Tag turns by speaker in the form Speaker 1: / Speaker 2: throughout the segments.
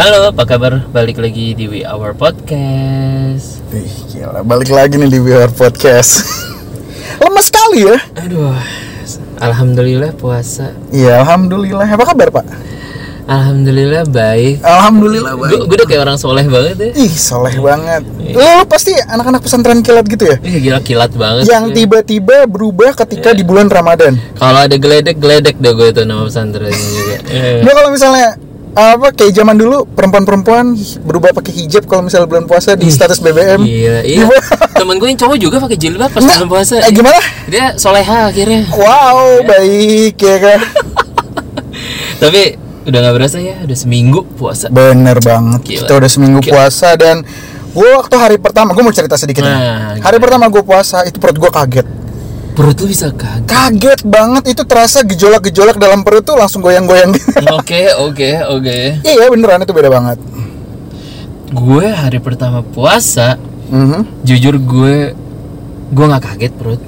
Speaker 1: Halo, apa kabar? Balik lagi di We Our Podcast.
Speaker 2: Ih, gila, balik lagi nih di Beware Podcast. Lemes sekali ya.
Speaker 1: Aduh, alhamdulillah puasa.
Speaker 2: Iya, alhamdulillah. Apa kabar, Pak?
Speaker 1: Alhamdulillah baik.
Speaker 2: Alhamdulillah
Speaker 1: Gue
Speaker 2: baik.
Speaker 1: udah kayak orang soleh banget ya.
Speaker 2: Ih, soleh banget. Lo, lo pasti anak-anak pesantren kilat gitu ya?
Speaker 1: Ih, gila kilat banget.
Speaker 2: Yang tiba-tiba berubah ketika di bulan Ramadan.
Speaker 1: Kalau ada geledek, geledek deh gue itu nama pesantrennya juga. Eh,
Speaker 2: Dia kalau misalnya apa kayak zaman dulu perempuan-perempuan berubah pakai hijab kalau misalnya bulan puasa di status BBM.
Speaker 1: Gila, iya. Temen gue yang cowok juga pakai jilbab pas
Speaker 2: Nggak,
Speaker 1: bulan puasa.
Speaker 2: eh, gimana?
Speaker 1: Dia soleha akhirnya.
Speaker 2: Wow, baik ya kan?
Speaker 1: Tapi udah nggak berasa ya, udah seminggu puasa.
Speaker 2: Bener banget.
Speaker 1: Gila.
Speaker 2: Kita udah seminggu puasa dan gue waktu hari pertama gue mau cerita sedikit. nih.
Speaker 1: Nah,
Speaker 2: hari pertama gue puasa itu perut gue kaget.
Speaker 1: Perut lu bisa kaget.
Speaker 2: Kaget banget itu terasa gejolak-gejolak dalam perut tuh langsung goyang-goyang.
Speaker 1: Oke, oke, oke.
Speaker 2: iya beneran itu beda banget.
Speaker 1: Gue hari pertama puasa,
Speaker 2: Mhm.
Speaker 1: jujur gue gue nggak kaget perut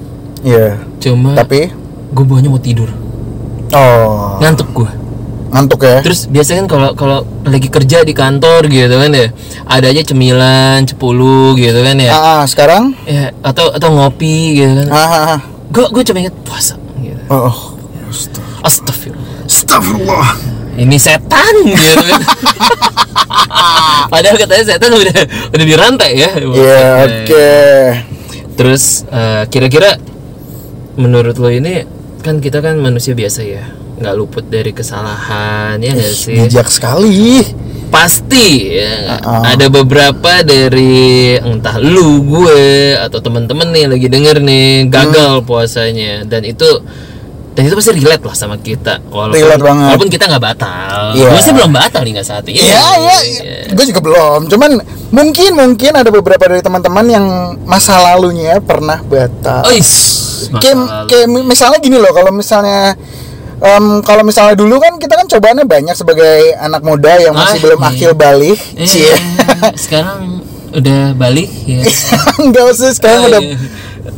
Speaker 2: Iya.
Speaker 1: cuma
Speaker 2: Tapi
Speaker 1: gue bawahnya mau tidur
Speaker 2: oh
Speaker 1: ngantuk gue
Speaker 2: ngantuk ya.
Speaker 1: terus biasanya kan kalau kalau lagi kerja di kantor gitu kan ya ada aja cemilan cepulu gitu kan ya
Speaker 2: Ah, ah, sekarang?
Speaker 1: ya atau atau ngopi gitu kan
Speaker 2: Ah, ah, ah.
Speaker 1: gue gue cuma inget puasa gitu
Speaker 2: Oh. oh. Astaga.
Speaker 1: astagfirullah
Speaker 2: Astagfirullah.
Speaker 1: ini setan gitu kan padahal katanya setan udah udah dirantai ya
Speaker 2: Iya, oke.
Speaker 1: Terus eh, kira-kira menurut lo ini kan kita kan manusia biasa ya, nggak luput dari kesalahan ya nggak sih?
Speaker 2: Bijak sekali.
Speaker 1: Pasti ya, nggak?
Speaker 2: Uh-uh.
Speaker 1: ada beberapa dari entah lu gue atau temen-temen nih lagi denger nih gagal
Speaker 2: Hmm.
Speaker 1: puasanya dan itu dan itu pasti relate lah sama kita walaupun
Speaker 2: Relate banget.
Speaker 1: walaupun kita nggak batal.
Speaker 2: Iya.
Speaker 1: Gue sih belum batal nih nggak saat ini.
Speaker 2: Iya, iya. Gue juga belum. Cuman mungkin mungkin ada beberapa dari teman-teman yang masa lalunya pernah batal.
Speaker 1: Oh, is,
Speaker 2: kayak, kayak mi- misalnya gini loh, kalau misalnya em, kalau misalnya dulu kan kita kan cobaannya banyak sebagai anak muda yang masih
Speaker 1: Ah,
Speaker 2: belum
Speaker 1: iya.
Speaker 2: akil balik. Cie.
Speaker 1: Iya. Sekarang udah balik ya.
Speaker 2: Enggak usah
Speaker 1: Oh,
Speaker 2: sekarang udah
Speaker 1: iya.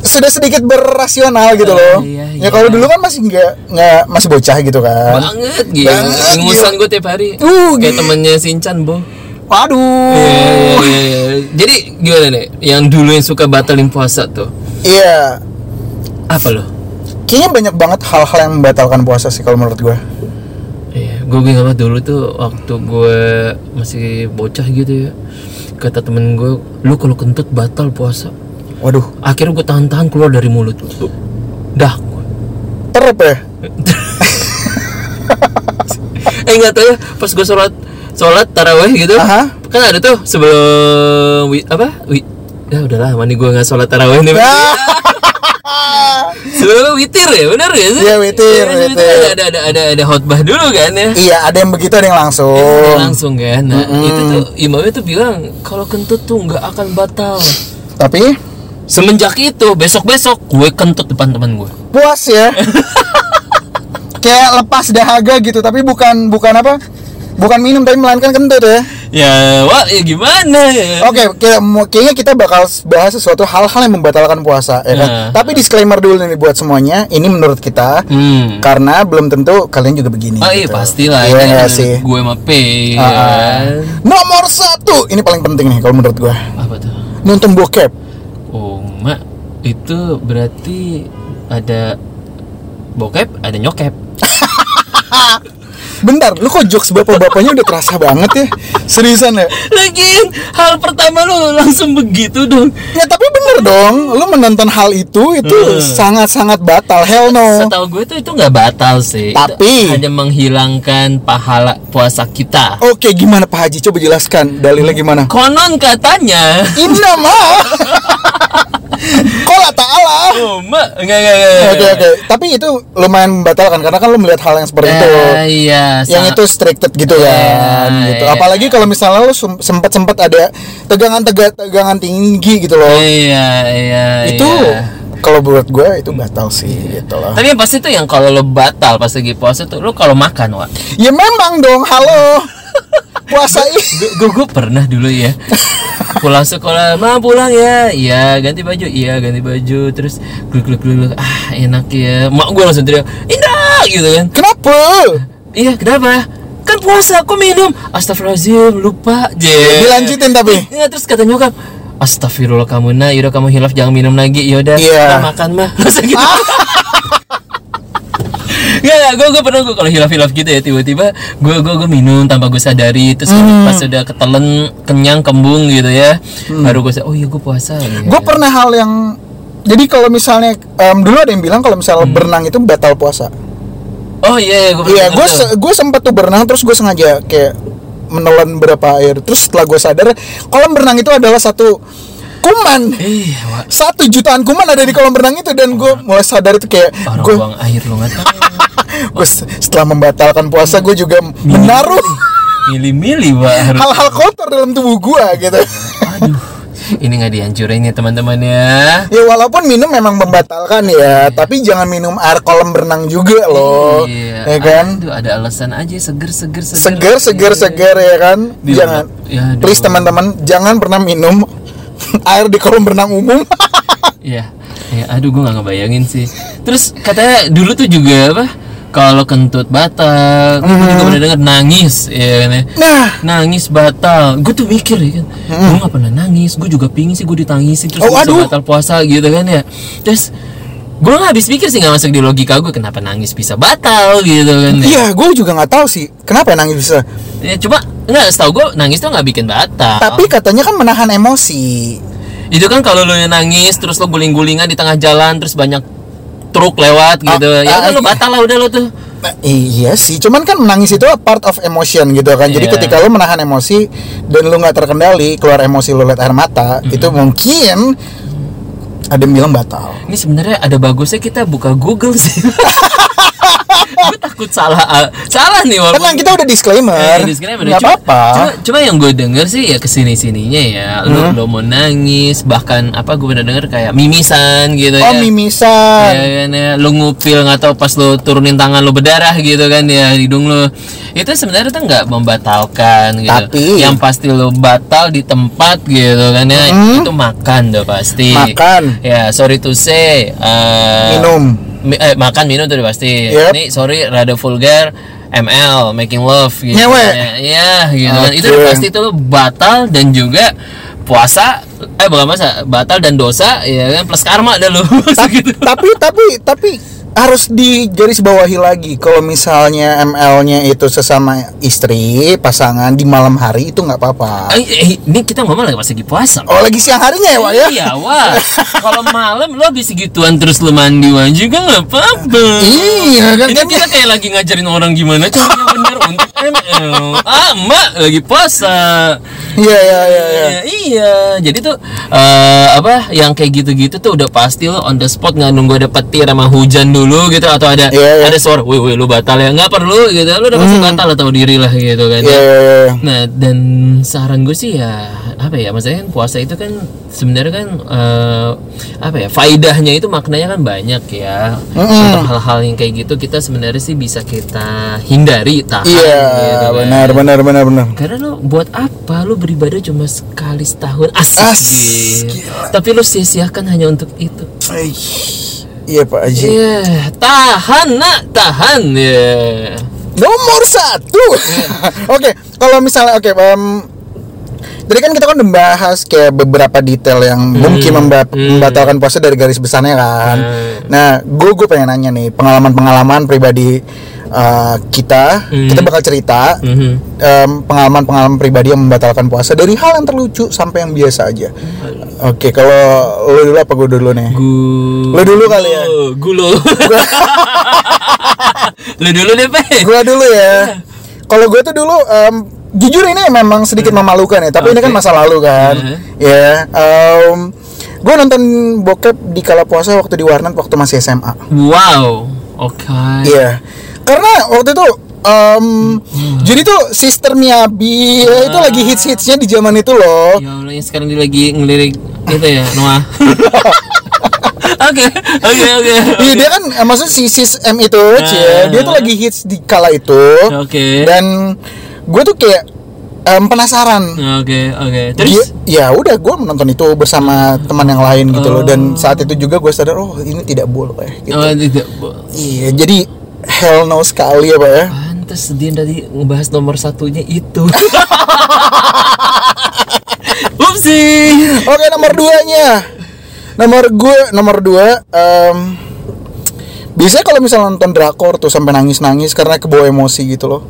Speaker 2: sudah sedikit berrasional gitu loh.
Speaker 1: iya, iya.
Speaker 2: Ya kalau dulu kan masih nggak nggak masih bocah gitu kan.
Speaker 1: Banget gitu.
Speaker 2: Banget,
Speaker 1: Ngusan gue tiap hari. Kayak
Speaker 2: Uh, gila. Oh.
Speaker 1: temennya Sinchan, Bo.
Speaker 2: Waduh.
Speaker 1: Iya, iya, iya, iya. Jadi gimana nih? Yang dulu yang suka batalin puasa tuh.
Speaker 2: Iya.
Speaker 1: Apa lo?
Speaker 2: Kayaknya banyak banget hal-hal yang membatalkan puasa sih kalau menurut gue.
Speaker 1: Iya, gue ingat banget dulu tuh waktu gue masih bocah gitu ya. Kata temen gue, lu kalau kentut batal puasa.
Speaker 2: Waduh,
Speaker 1: Akhirnya gue tahan-tahan keluar dari mulut. Dah. gua.
Speaker 2: terep ya?
Speaker 1: Eh nggak tahu ya, pas gue sholat sholat taraweh gitu,
Speaker 2: Aha.
Speaker 1: kan ada tuh sebelum wi- apa? Wi, ya udahlah, mani gue nggak sholat taraweh nih.
Speaker 2: Ya.
Speaker 1: sebelum witir ya, benar ya sih?
Speaker 2: Iya, witir,
Speaker 1: Iya, sebelum
Speaker 2: witir.
Speaker 1: Ada ada ada ada, ada khotbah dulu kan ya.
Speaker 2: Iya, ada yang begitu, ada yang
Speaker 1: Ada
Speaker 2: langsung.
Speaker 1: langsung kan. Nah, itu tuh imamnya tuh bilang kalau kentut tuh nggak akan batal.
Speaker 2: Tapi
Speaker 1: Semenjak itu besok-besok gue kentut depan teman gue.
Speaker 2: puas ya. Kayak lepas dahaga gitu, tapi bukan bukan apa? Bukan minum tapi melainkan kentut ya.
Speaker 1: Ya, wah, ya gimana ya?
Speaker 2: Oke, kayak- mu- kayaknya kita bakal bahas sesuatu hal-hal yang membatalkan puasa ya kan.
Speaker 1: Nah.
Speaker 2: Tapi disclaimer dulu nih buat semuanya, ini menurut kita
Speaker 1: Hmm.
Speaker 2: karena belum tentu kalian juga begini.
Speaker 1: Oh iya
Speaker 2: gitu.
Speaker 1: pastilah
Speaker 2: Iya
Speaker 1: ini
Speaker 2: nggak
Speaker 1: menurut
Speaker 2: sih.
Speaker 1: Gue sama P ya kan?
Speaker 2: Ah, ah. Nomor satu, ini paling penting nih kalau menurut gua.
Speaker 1: Apa tuh?
Speaker 2: Nonton bokep.
Speaker 1: Oh, mak itu berarti ada bokep, ada nyokep.
Speaker 2: Bentar, lu kok jokes bapak-bapaknya udah terasa banget ya? Seriusan ya?
Speaker 1: Lagian hal pertama lo langsung begitu dong.
Speaker 2: Ya tapi bener dong, lu menonton hal itu itu sangat-sangat batal. Hell Oh, no.
Speaker 1: Setahu gue tuh itu nggak batal sih. Itu
Speaker 2: Tapi-
Speaker 1: hanya menghilangkan pahala puasa kita.
Speaker 2: Oke, gimana Pak Haji? Coba jelaskan dalilnya gimana?
Speaker 1: Konon katanya.
Speaker 2: Inna ma. Kola ta'ala.
Speaker 1: Oh, mak enggak enggak enggak.
Speaker 2: Oke oke, tapi itu lumayan membatalkan karena kan lu melihat hal yang seperti itu.
Speaker 1: Eh, iya.
Speaker 2: yang
Speaker 1: sa-
Speaker 2: itu restricted gitu kan
Speaker 1: Iya,
Speaker 2: gitu.
Speaker 1: iya.
Speaker 2: Apalagi kalau misalnya lu sempat sempat ada tegangan tegangan tinggi gitu loh.
Speaker 1: Iya, iya.
Speaker 2: itu
Speaker 1: iya.
Speaker 2: kalau buat gue itu batal sih gitu loh.
Speaker 1: Tapi yang pasti tuh yang kalau lo batal pas lagi puasa tuh lo kalau makan, Wak.
Speaker 2: Ya memang dong, halo. Puasa ini.
Speaker 1: Gue gue pernah dulu ya. Pulang sekolah, ma pulang ya. Iya, ganti baju. Iya, ganti baju. Terus gluk gluk gluk. gluk. Ah, enak ya. Mak gue langsung teriak, "Indah!" gitu kan.
Speaker 2: Kenapa?
Speaker 1: Iya, kenapa? kan puasa aku minum astagfirullahaladzim lupa je
Speaker 2: Dilanjutin tapi?
Speaker 1: ya, terus kata nyokap astagfirullah kamu nah yaudah kamu hilaf jangan minum lagi yaudah
Speaker 2: Iya. Ah.
Speaker 1: nah, makan mah masa gitu Ya, Gak, gak, gue, gue pernah gue kalau hilaf-hilaf gitu ya tiba-tiba gue gue gue minum tanpa gue sadari terus
Speaker 2: Hmm.
Speaker 1: pas sudah ketelen kenyang kembung gitu ya baru gue sadar oh iya gue puasa ya.
Speaker 2: Gue pernah hal yang jadi kalau misalnya em, dulu ada yang bilang kalau misalnya
Speaker 1: Hmm.
Speaker 2: berenang itu batal puasa.
Speaker 1: oh iya gue
Speaker 2: Iya, gue gue sempat tuh berenang terus gue sengaja kayak menelan berapa air. Terus setelah gue sadar kolam berenang itu adalah satu kuman.
Speaker 1: eh wah,
Speaker 2: Satu jutaan kuman ada di kolam berenang itu dan gue mulai sadar itu kayak
Speaker 1: orang
Speaker 2: gue
Speaker 1: buang air lo nggak tahu
Speaker 2: gue se- setelah membatalkan puasa gue juga menaruh
Speaker 1: milih-milih baru
Speaker 2: hal-hal kotor dalam tubuh gue gitu.
Speaker 1: aduh ini nggak dihancurin ya teman-teman ya
Speaker 2: Ya walaupun minum memang membatalkan ya, tapi jangan minum air kolam berenang juga loh.
Speaker 1: Iya,
Speaker 2: Ya kan?
Speaker 1: Aduh, ada alasan aja seger seger seger.
Speaker 2: segar segar segar ya kan
Speaker 1: Di-
Speaker 2: jangan
Speaker 1: ya, aduh.
Speaker 2: please teman-teman jangan pernah minum air di kolam renang umum
Speaker 1: Iya. Ya, aduh gue nggak ngebayangin sih. Terus katanya dulu tuh juga apa? Kalau kentut batal, gue
Speaker 2: Hmm.
Speaker 1: juga pernah denger nangis, ya kan ya.
Speaker 2: nah
Speaker 1: Nangis batal, gue tuh mikir ya kan, gue gak pernah nangis, gue juga pingin sih gue ditangisi terus
Speaker 2: Hmm. Oh,
Speaker 1: gua bisa
Speaker 2: aduh.
Speaker 1: batal puasa gitu kan ya. Terus gue gak habis pikir sih gak masuk di logika gue kenapa nangis bisa batal gitu kan ya.
Speaker 2: iya gue juga nggak tahu sih kenapa ya nangis bisa
Speaker 1: ya cuma nggak setahu gue nangis tuh nggak bikin batal.
Speaker 2: tapi katanya kan menahan emosi
Speaker 1: Itu kan kalau lu nangis terus lu guling-gulingan di tengah jalan terus banyak truk lewat gitu.
Speaker 2: Ah,
Speaker 1: ya kan
Speaker 2: ah,
Speaker 1: lu batal lah udah lu tuh.
Speaker 2: Nah, iya sih cuman kan menangis itu part of emotion gitu kan jadi
Speaker 1: Iya.
Speaker 2: ketika lo menahan emosi dan lo nggak terkendali keluar emosi lo liat air mata itu mungkin ada yang bilang batal
Speaker 1: Ini sebenarnya ada bagusnya kita buka Google sih. gue takut salah ah, salah nih walaupun
Speaker 2: tenang kita udah disclaimer
Speaker 1: Eh, disclaimer ya.
Speaker 2: nggak
Speaker 1: Cuma-
Speaker 2: apa-apa
Speaker 1: Cuma, cuma yang gue denger sih ya kesini sininya ya. Lu
Speaker 2: Hmm?
Speaker 1: lo mau nangis bahkan apa gue pernah denger kayak mimisan gitu
Speaker 2: oh
Speaker 1: ya.
Speaker 2: mimisan
Speaker 1: Ya, kan, ya. Lu ngupil nggak tahu pas lu turunin tangan lu berdarah gitu kan ya hidung lu. Itu sebenarnya tuh nggak membatalkan gitu.
Speaker 2: Tapi-
Speaker 1: yang pasti lu batal di tempat gitu kan ya itu makan tuh pasti.
Speaker 2: Hmm? Makan.
Speaker 1: Ya, sorry to say eh,
Speaker 2: minum
Speaker 1: mi- eh, makan minum tuh udah pasti.
Speaker 2: Yep.
Speaker 1: Ini sorry rada vulgar. ML making love gitu.
Speaker 2: Nyewe.
Speaker 1: Ya, Iya, gitu kan. Itu
Speaker 2: Oke.
Speaker 1: udah pasti itu lu batal dan juga puasa eh bukan puasa batal dan dosa ya kan plus karma dah lu Maksud gitu.
Speaker 2: tapi tapi tapi harus digarisbawahi lagi kalau misalnya ML-nya itu sesama istri pasangan di malam hari itu nggak apa-apa
Speaker 1: Eh, eh, ini kita ngomong lagi pas lagi puasa.
Speaker 2: oh lagi siang harinya ya Wak ya
Speaker 1: Iya, wah. Kalau malam lo habis segituan terus lo mandi mandi juga nggak apa-apa.
Speaker 2: iya kan
Speaker 1: Ini
Speaker 2: kan
Speaker 1: kita kayak lagi ngajarin orang gimana caranya bener untuk ML. Ah, Mbak lagi puasa.
Speaker 2: iya iya iya iya.
Speaker 1: Iya, iya. Jadi tuh eh, apa yang kayak gitu-gitu tuh udah pasti lo on the spot nggak nunggu ada petir sama hujan dulu gitu atau ada
Speaker 2: Iya, iya.
Speaker 1: ada suara, "Woi, woi, lu batal ya?" Nggak perlu gitu. Lo udah pasti batal atau diri lah gitu kan.
Speaker 2: Iya, iya, iya.
Speaker 1: Nah, dan saran gue sih ya apa ya? Maksudnya kan puasa itu kan sebenarnya kan eh, apa ya? Faidahnya itu maknanya kan banyak ya. Untuk hal-hal yang kayak gitu kita sebenarnya sih bisa kita hindari tahan
Speaker 2: Iya,
Speaker 1: gitu kan.
Speaker 2: benar benar benar benar
Speaker 1: Karena lo buat apa lo beribadah cuma sekali setahun asik,
Speaker 2: As-
Speaker 1: Gil. tapi lo sia-siakan hanya untuk itu.
Speaker 2: Ih, iya Pak Haji
Speaker 1: Iya, tahan nak tahan ya.
Speaker 2: nomor satu oke kalau misalnya oke em, Jadi kan kita kan udah bahas kayak beberapa detail yang mungkin memba- membatalkan puasa dari garis besarnya kan. Nah, gue gue pengen nanya nih pengalaman-pengalaman pribadi eh, kita, kita bakal cerita
Speaker 1: Mhm.
Speaker 2: em, pengalaman-pengalaman pribadi yang membatalkan puasa dari hal yang terlucu sampai yang biasa aja. Oke, kalau lo dulu apa gue dulu nih?
Speaker 1: Gu-
Speaker 2: Lo dulu kali ya.
Speaker 1: Gulo, Gulo. Oh, Lu dulu deh, Pe.
Speaker 2: Gue Eh, dulu ya. Kalau gue tuh dulu em, jujur ini memang sedikit memalukan ya, tapi ini kan
Speaker 1: Oke.
Speaker 2: masa lalu kan.
Speaker 1: Mhm.
Speaker 2: Ya, em, gue nonton bokep di kala puasa waktu di warnet waktu masih SMA.
Speaker 1: Eh. Wow. Oke.
Speaker 2: Iya. Karena waktu itu em, jadi tuh Sister Miyabi ya, itu lagi hits-hitsnya di zaman itu loh.
Speaker 1: Ya Allah, yang sekarang dia lagi ngelirik itu ya, Noah. Oke, oke, oke.
Speaker 2: Iya dia kan eh, maksudnya si sis M itu cie, dia tuh lagi hits di kala itu.
Speaker 1: Oke.
Speaker 2: Dan gue tuh kayak em, penasaran.
Speaker 1: Oke, oke.
Speaker 2: Dia,
Speaker 1: Terus
Speaker 2: ya udah gue menonton itu bersama teman yang lain gitu loh dan saat itu juga gue sadar oh ini tidak boleh gitu.
Speaker 1: Oh, tidak.
Speaker 2: Iya jadi hell no sekali ya pak ya.
Speaker 1: Apaan? pantes dia tadi ngebahas nomor satunya itu. Upsi.
Speaker 2: Oke nomor duanya Nomor gue Nomor dua em, Biasanya kalau misalnya nonton drakor tuh sampai nangis-nangis karena kebawa emosi gitu loh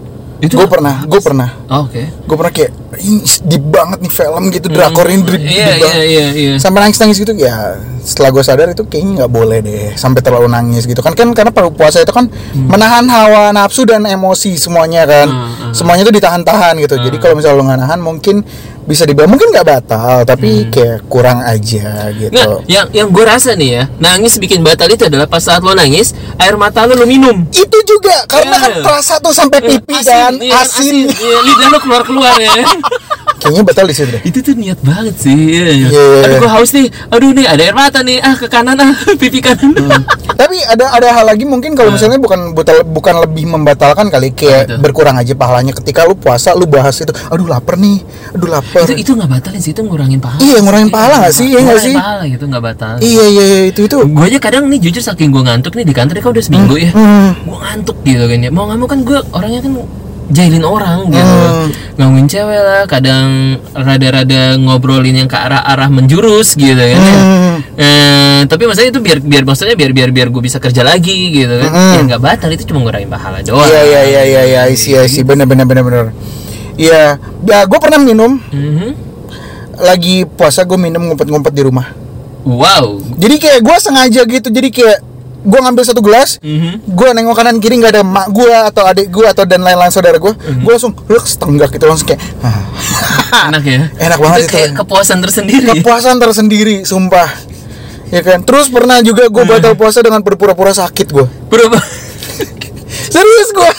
Speaker 1: Itu
Speaker 2: Gue
Speaker 1: apa?
Speaker 2: pernah Gue pernah
Speaker 1: Oh, Oke.
Speaker 2: Gue pernah kayak Ih deep banget nih film gitu Drakor ini deep, deep
Speaker 1: Hmm. Iya iya
Speaker 2: banget
Speaker 1: iya iya.
Speaker 2: Sampai nangis-nangis gitu ya Setelah gue sadar itu kayaknya nggak boleh deh Sampai terlalu nangis gitu kan kan Karena pu- puasa itu kan Menahan hawa nafsu dan emosi semuanya kan
Speaker 1: Hmm, hmm.
Speaker 2: Semuanya tuh ditahan-tahan gitu
Speaker 1: Ah.
Speaker 2: Jadi kalau misalnya lo nggak nahan mungkin bisa dibilang Mungkin nggak batal Tapi kayak kurang aja gitu
Speaker 1: Hmm. Nggak, yang yang gue rasa nih ya, nangis bikin batal itu adalah pas saat lo nangis, air mata lo lo minum.
Speaker 2: itu juga karena
Speaker 1: Iya.
Speaker 2: kan terasa tuh sampai pipi kan
Speaker 1: iya kan,
Speaker 2: asin,
Speaker 1: Iya, lidah lo keluar keluar ya.
Speaker 2: kayaknya batal di situ deh
Speaker 1: itu tuh niat banget sih. Iya. iya.
Speaker 2: Iya, iya,
Speaker 1: Aduh
Speaker 2: iya.
Speaker 1: gue haus nih. Aduh nih ada air mata nih. Ah ke kanan ah pipi kanan.
Speaker 2: tapi ada ada hal lagi mungkin
Speaker 1: Hmm.
Speaker 2: kalau misalnya bukan butal- bukan lebih membatalkan kali kayak
Speaker 1: Betul.
Speaker 2: berkurang aja pahalanya ketika lu puasa lu bahas itu aduh lapar nih aduh lapar
Speaker 1: itu itu nggak batalin sih itu ngurangin pahala.
Speaker 2: Iya, ngurangin pahala nggak sih? Iya nggak
Speaker 1: Ngurangin
Speaker 2: sih?
Speaker 1: Pahala gitu nggak batalin.
Speaker 2: iya iya iya, itu itu
Speaker 1: Gue aja kadang nih jujur saking gue ngantuk nih di kantor kan udah seminggu ya.
Speaker 2: Hmm.
Speaker 1: gue ngantuk gitu kan ya mau nggak mau kan gue orangnya kan jahilin orang gitu
Speaker 2: Hmm.
Speaker 1: gangguin cewek lah kadang rada-rada ngobrolin yang ke arah-arah menjurus gitu kan ya.
Speaker 2: Hmm.
Speaker 1: Eh, tapi maksudnya itu biar biar maksudnya biar biar biar gue bisa kerja lagi gitu kan
Speaker 2: Hmm.
Speaker 1: ya nggak batal itu cuma ngurangin pahala doang
Speaker 2: iya iya iya iya iya isi isi bener bener bener bener iya ya gue pernah minum
Speaker 1: Mhm.
Speaker 2: lagi puasa gue minum ngumpet-ngumpet di rumah
Speaker 1: wow
Speaker 2: jadi kayak gue sengaja gitu jadi kayak gue ngambil satu gelas
Speaker 1: Mhm.
Speaker 2: gue nengok kanan kiri nggak ada mak gue atau adik gue atau dan lain-lain saudara gue
Speaker 1: Hmm.
Speaker 2: gue langsung luk setenggak gitu langsung kayak "Hah."
Speaker 1: enak ya
Speaker 2: enak banget
Speaker 1: itu
Speaker 2: itu,
Speaker 1: kayak kepuasan tersendiri
Speaker 2: kepuasan tersendiri sumpah ya kan terus pernah juga
Speaker 1: Hmm.
Speaker 2: gue batal puasa dengan berpura-pura sakit gue
Speaker 1: berapa
Speaker 2: serius gue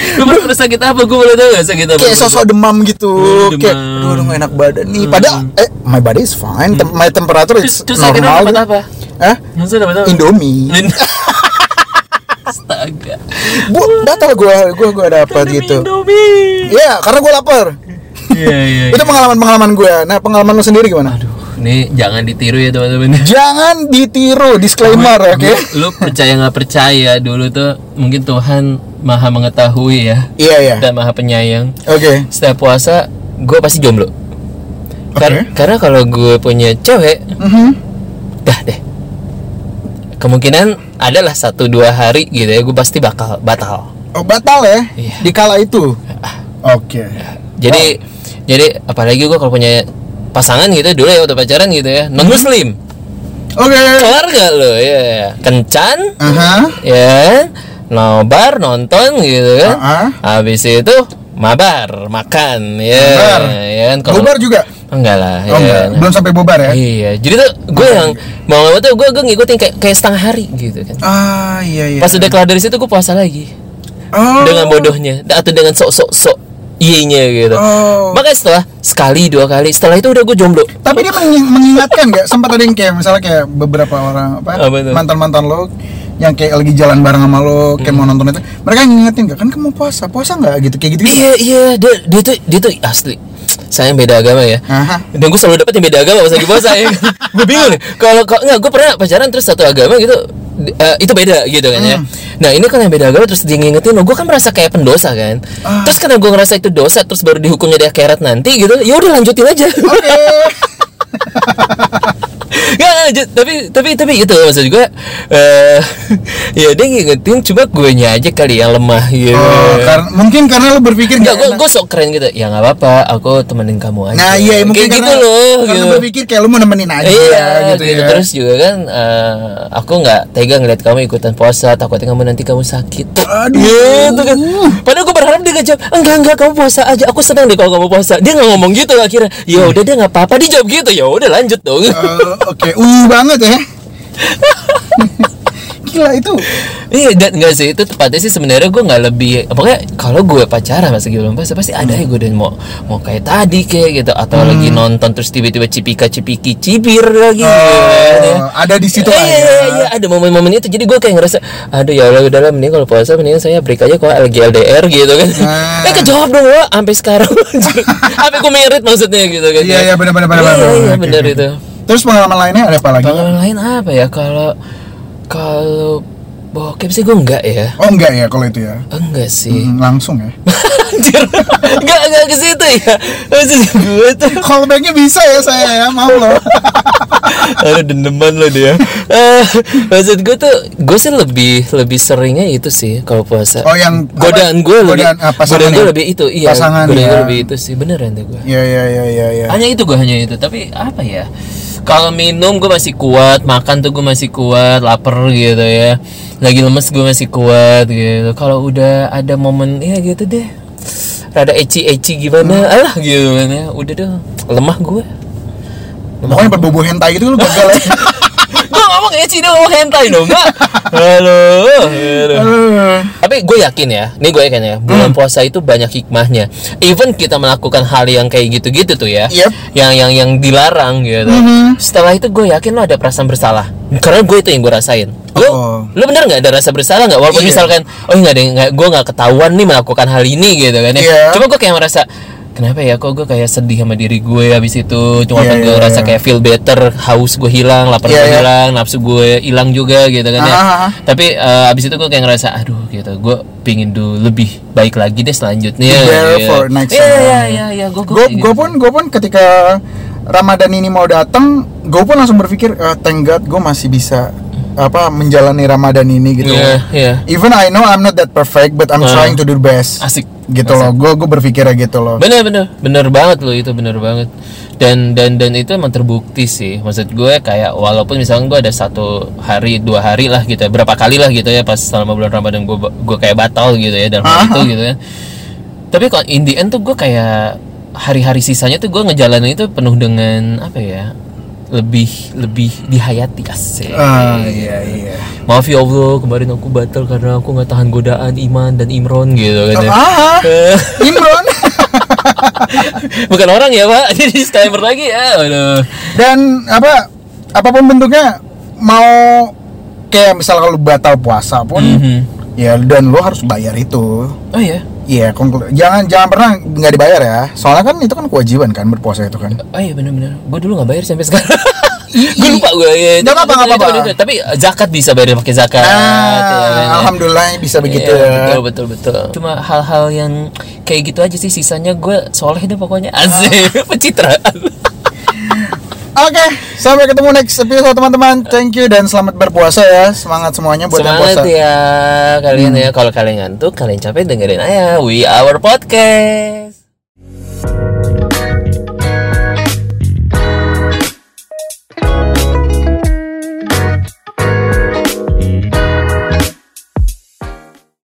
Speaker 1: gue pernah sakit apa gue boleh tahu gak sakit apa
Speaker 2: kayak sosok demam gitu
Speaker 1: Hmm,
Speaker 2: kayak
Speaker 1: demam. Hmm.
Speaker 2: aduh aduh nggak enak badan nih padahal eh my body is fine Tem- my temperature
Speaker 1: terus
Speaker 2: is
Speaker 1: terus akhirnya dapat
Speaker 2: normal gitu.
Speaker 1: apa
Speaker 2: Hah?
Speaker 1: Maksudnya dapat apa
Speaker 2: Indomie
Speaker 1: Astaga.
Speaker 2: bu batal gue gue gue dapat gitu
Speaker 1: Indomie.
Speaker 2: ya karena gue lapar
Speaker 1: Iya iya.
Speaker 2: itu pengalaman pengalaman gue nah pengalaman lu sendiri gimana
Speaker 1: Aduh, nih jangan ditiru ya teman-teman.
Speaker 2: Jangan ditiru disclaimer oke.
Speaker 1: Lu percaya nggak percaya dulu tuh mungkin Tuhan maha mengetahui ya
Speaker 2: Iya iya.
Speaker 1: dan maha penyayang.
Speaker 2: Oke.
Speaker 1: Setiap puasa gue pasti jomblo. Kar-
Speaker 2: Oke.
Speaker 1: Karena kalau gue punya cewek,
Speaker 2: Mhm.
Speaker 1: dah deh. Kemungkinan adalah satu dua hari gitu ya gue pasti bakal batal.
Speaker 2: Oh batal ya?
Speaker 1: Iya.
Speaker 2: Di kala itu. Oke.
Speaker 1: Jadi jadi apalagi gue kalau punya pasangan gitu dulu ya waktu pacaran gitu ya non muslim.
Speaker 2: Oke.
Speaker 1: kelar gak lo ya kencan
Speaker 2: Aha.
Speaker 1: ya nobar nonton gitu kan
Speaker 2: Ah, ah.
Speaker 1: habis itu mabar makan ya
Speaker 2: Mabar.
Speaker 1: ya kan kalau-
Speaker 2: Bubar juga.
Speaker 1: enggak lah
Speaker 2: Oh
Speaker 1: ya.
Speaker 2: enggak, belum sampai bubar ya?
Speaker 1: iya jadi tuh gue yang mau nggak mau tuh gue gue ngikutin kayak kayak setengah hari gitu kan
Speaker 2: Ah iya iya.
Speaker 1: pas udah kelar dari situ gue puasa lagi
Speaker 2: Oh.
Speaker 1: dengan bodohnya atau dengan sok sok sok iyenya gitu
Speaker 2: Oh.
Speaker 1: makanya setelah sekali dua kali setelah itu udah gue jomblo
Speaker 2: Tapi dia mengi- mengingatkan nggak? Sempat ada yang kayak misalnya kayak beberapa orang apa
Speaker 1: Apa tuh?
Speaker 2: mantan mantan lo yang kayak lagi jalan bareng sama lo kayak
Speaker 1: Hmm.
Speaker 2: mau nonton itu mereka ngingetin nggak kan kamu puasa puasa nggak gitu kayak gitu, gitu.
Speaker 1: iya iya dia, dia tuh dia tuh asli saya beda agama ya
Speaker 2: Aha.
Speaker 1: dan gue selalu dapet yang beda agama pas lagi puasa ya gue bingung nih kalau kalau nggak gue pernah pacaran terus satu agama gitu di- eh, itu beda gitu kan
Speaker 2: Hmm.
Speaker 1: ya nah ini kan yang beda agama terus dia ngingetin lo gue kan merasa kayak pendosa kan
Speaker 2: Ah.
Speaker 1: terus karena gue ngerasa itu dosa terus baru dihukumnya di akhirat nanti gitu ya udah lanjutin aja
Speaker 2: Oke.
Speaker 1: Nggak, nggak, ju- tapi tapi tapi itu maksud gue eh ya dia ngingetin cuma gue aja kali yang lemah gitu
Speaker 2: Oh, karena- mungkin karena lo berpikir
Speaker 1: Enggak, gue
Speaker 2: nggak enak.
Speaker 1: gue sok keren gitu. Ya nggak apa-apa, aku temenin kamu aja.
Speaker 2: Iya, Nah iya mungkin
Speaker 1: Kayak
Speaker 2: karena,
Speaker 1: gitu loh.
Speaker 2: karena
Speaker 1: gitu.
Speaker 2: berpikir kayak lu mau nemenin aja
Speaker 1: Iya, gitu,
Speaker 2: gitu, ya.
Speaker 1: Terus juga kan, eh, aku nggak tega ngeliat kamu ikutan puasa. Takutnya kamu nanti kamu sakit.
Speaker 2: Aduh.
Speaker 1: Gitu kan. Padahal gue berharap dia ngejawab, enggak enggak kamu puasa aja. Aku senang deh kalau kamu puasa. Dia nggak ngomong gitu akhirnya. Ya udah dia nggak apa-apa. Dia jawab gitu. Ya udah lanjut dong.
Speaker 2: Eh, Oke, uh banget ya. Gila itu.
Speaker 1: Iya, dan enggak sih itu tepatnya sih sebenarnya gue nggak lebih pokoknya kalau gue pacaran masa sebelum pas pasti ada ya gue dan mau mau kayak tadi kayak gitu
Speaker 2: Hmm.
Speaker 1: atau lagi nonton terus tiba-tiba cipika cipiki cibir lagi gitu
Speaker 2: Eh,
Speaker 1: ya.
Speaker 2: ada di situ
Speaker 1: Iya, iya,
Speaker 2: aja.
Speaker 1: iya, ada momen-momen itu jadi gue kayak ngerasa aduh ya Allah udah lah mending kalau puasa mendingan saya break aja kalau lagi LDR gitu kan
Speaker 2: Ah.
Speaker 1: eh kejawab dong lo sampai sekarang anjir. sampai gue merit maksudnya gitu kan
Speaker 2: Iya, iya, benar, benar, benar,
Speaker 1: Iya,
Speaker 2: benar,
Speaker 1: iya,
Speaker 2: benar.
Speaker 1: iya
Speaker 2: Oke,
Speaker 1: benar
Speaker 2: oke.
Speaker 1: itu
Speaker 2: Terus pengalaman lainnya ada apa lagi?
Speaker 1: pengalaman lain apa ya kalau kalau Bokep sih gue enggak ya.
Speaker 2: Oh enggak ya kalau itu ya.
Speaker 1: Enggak sih.
Speaker 2: Hmm, langsung ya.
Speaker 1: Anjir. Enggak enggak ke situ ya. Maksud gue tuh
Speaker 2: Kalau backnya bisa ya saya ya mau loh.
Speaker 1: Aduh dendeman lo dia. Eh, maksud gue tuh gue sih lebih lebih seringnya itu sih kalau puasa.
Speaker 2: Oh, yang apa?
Speaker 1: godaan gue lebih
Speaker 2: Godaan, ah, pasangan
Speaker 1: godaan gue
Speaker 2: ya?
Speaker 1: lebih itu iya.
Speaker 2: Pasangan
Speaker 1: godaan gue
Speaker 2: ya.
Speaker 1: lebih itu sih beneran deh gue.
Speaker 2: Ya ya ya ya ya.
Speaker 1: Hanya itu gue hanya itu tapi apa ya? Kalau minum gue masih kuat, makan tuh gue masih kuat, lapar gitu ya. Lagi lemes gue masih kuat gitu. Kalau udah ada momen ya gitu deh. Rada eci-eci gimana? Alah gitu kan ya. Udah deh, lemah gue.
Speaker 2: Pokoknya berbobo hentai itu lu gagal ya.
Speaker 1: gue ngomong ecchi dong ngomong hentai dong enggak halo, halo.
Speaker 2: Aduh.
Speaker 1: tapi gue yakin ya ini gue yakin ya bulan puasa itu banyak hikmahnya even kita melakukan hal yang kayak gitu-gitu tuh ya
Speaker 2: Yep.
Speaker 1: yang yang yang dilarang gitu
Speaker 2: Mm-hmm.
Speaker 1: setelah itu gue yakin lo ada perasaan bersalah karena gue itu yang gue rasain lo
Speaker 2: Oh.
Speaker 1: lo bener nggak ada rasa bersalah nggak walaupun
Speaker 2: Iya.
Speaker 1: misalkan oh nggak ada nggak- gue nggak ketahuan nih melakukan hal ini gitu kan ya
Speaker 2: Iya.
Speaker 1: cuma gue kayak merasa Kenapa ya kok gue kayak sedih sama diri gue habis itu cuma
Speaker 2: Iya,
Speaker 1: kan gue
Speaker 2: iya,
Speaker 1: rasa
Speaker 2: iya.
Speaker 1: kayak feel better haus gue hilang lapar
Speaker 2: Iya,
Speaker 1: gue
Speaker 2: iya.
Speaker 1: hilang nafsu gue hilang juga gitu kan ya
Speaker 2: Ah, ah, ah.
Speaker 1: tapi eh, abis itu gue kayak ngerasa aduh gitu gue pingin dulu lebih baik lagi deh selanjutnya
Speaker 2: Be there
Speaker 1: gitu.
Speaker 2: for next
Speaker 1: Iya,
Speaker 2: time.
Speaker 1: iya iya iya gue
Speaker 2: gue gue pun gue pun ketika Ramadan ini mau datang gue pun langsung berpikir "Eh, thank God gue masih bisa apa menjalani Ramadan ini gitu
Speaker 1: Iya, iya.
Speaker 2: even I know I'm not that perfect but I'm
Speaker 1: Ah.
Speaker 2: trying to do the best
Speaker 1: Asik.
Speaker 2: gitu loh gue gue berpikir gitu loh
Speaker 1: bener bener bener banget loh itu bener banget dan dan dan itu emang terbukti sih maksud gue kayak walaupun misalnya gue ada satu hari dua hari lah gitu ya berapa kali lah gitu ya pas selama bulan ramadan gue ba- gue kayak batal gitu ya dalam hal itu gitu ya tapi kalau in the end tuh gue kayak hari-hari sisanya tuh gue ngejalanin itu penuh dengan apa ya lebih lebih dihayati asik
Speaker 2: ah iya iya
Speaker 1: maaf ya allah kemarin aku batal karena aku nggak tahan godaan iman dan imron gitu kan ya.
Speaker 2: ah Imron
Speaker 1: Bukan orang ya pak, jadi disclaimer lagi ya Aduh
Speaker 2: dan apa apapun bentuknya mau kayak misal kalau batal puasa pun ya dan lo harus bayar itu
Speaker 1: Mhm. Oh iya,
Speaker 2: Iya, konklu- jangan jangan pernah nggak dibayar ya. Soalnya kan itu kan kewajiban kan berpuasa itu kan.
Speaker 1: oh iya bener-bener Gue dulu gak bayar sampai sekarang Gue lupa gue ya.
Speaker 2: Nggak apa-apa, nggak apa-apa.
Speaker 1: Tapi eh, zakat bisa bayar pakai zakat ya kan, ya.
Speaker 2: Nah, alhamdulillah bisa begitu
Speaker 1: Iya,
Speaker 2: ya.
Speaker 1: betul betul betul. Cuma hal-hal yang kayak gitu aja sih sisanya gue soleh deh pokoknya
Speaker 2: Ah.
Speaker 1: asik pencitraan.
Speaker 2: Oke, sampai ketemu next episode teman-teman. Thank you dan selamat berpuasa ya. Semangat semuanya buat yang puasa. Hmm.
Speaker 1: Semangat ya kalian ya kalau kalian ngantuk kalian capek dengerin aja We Our Podcast.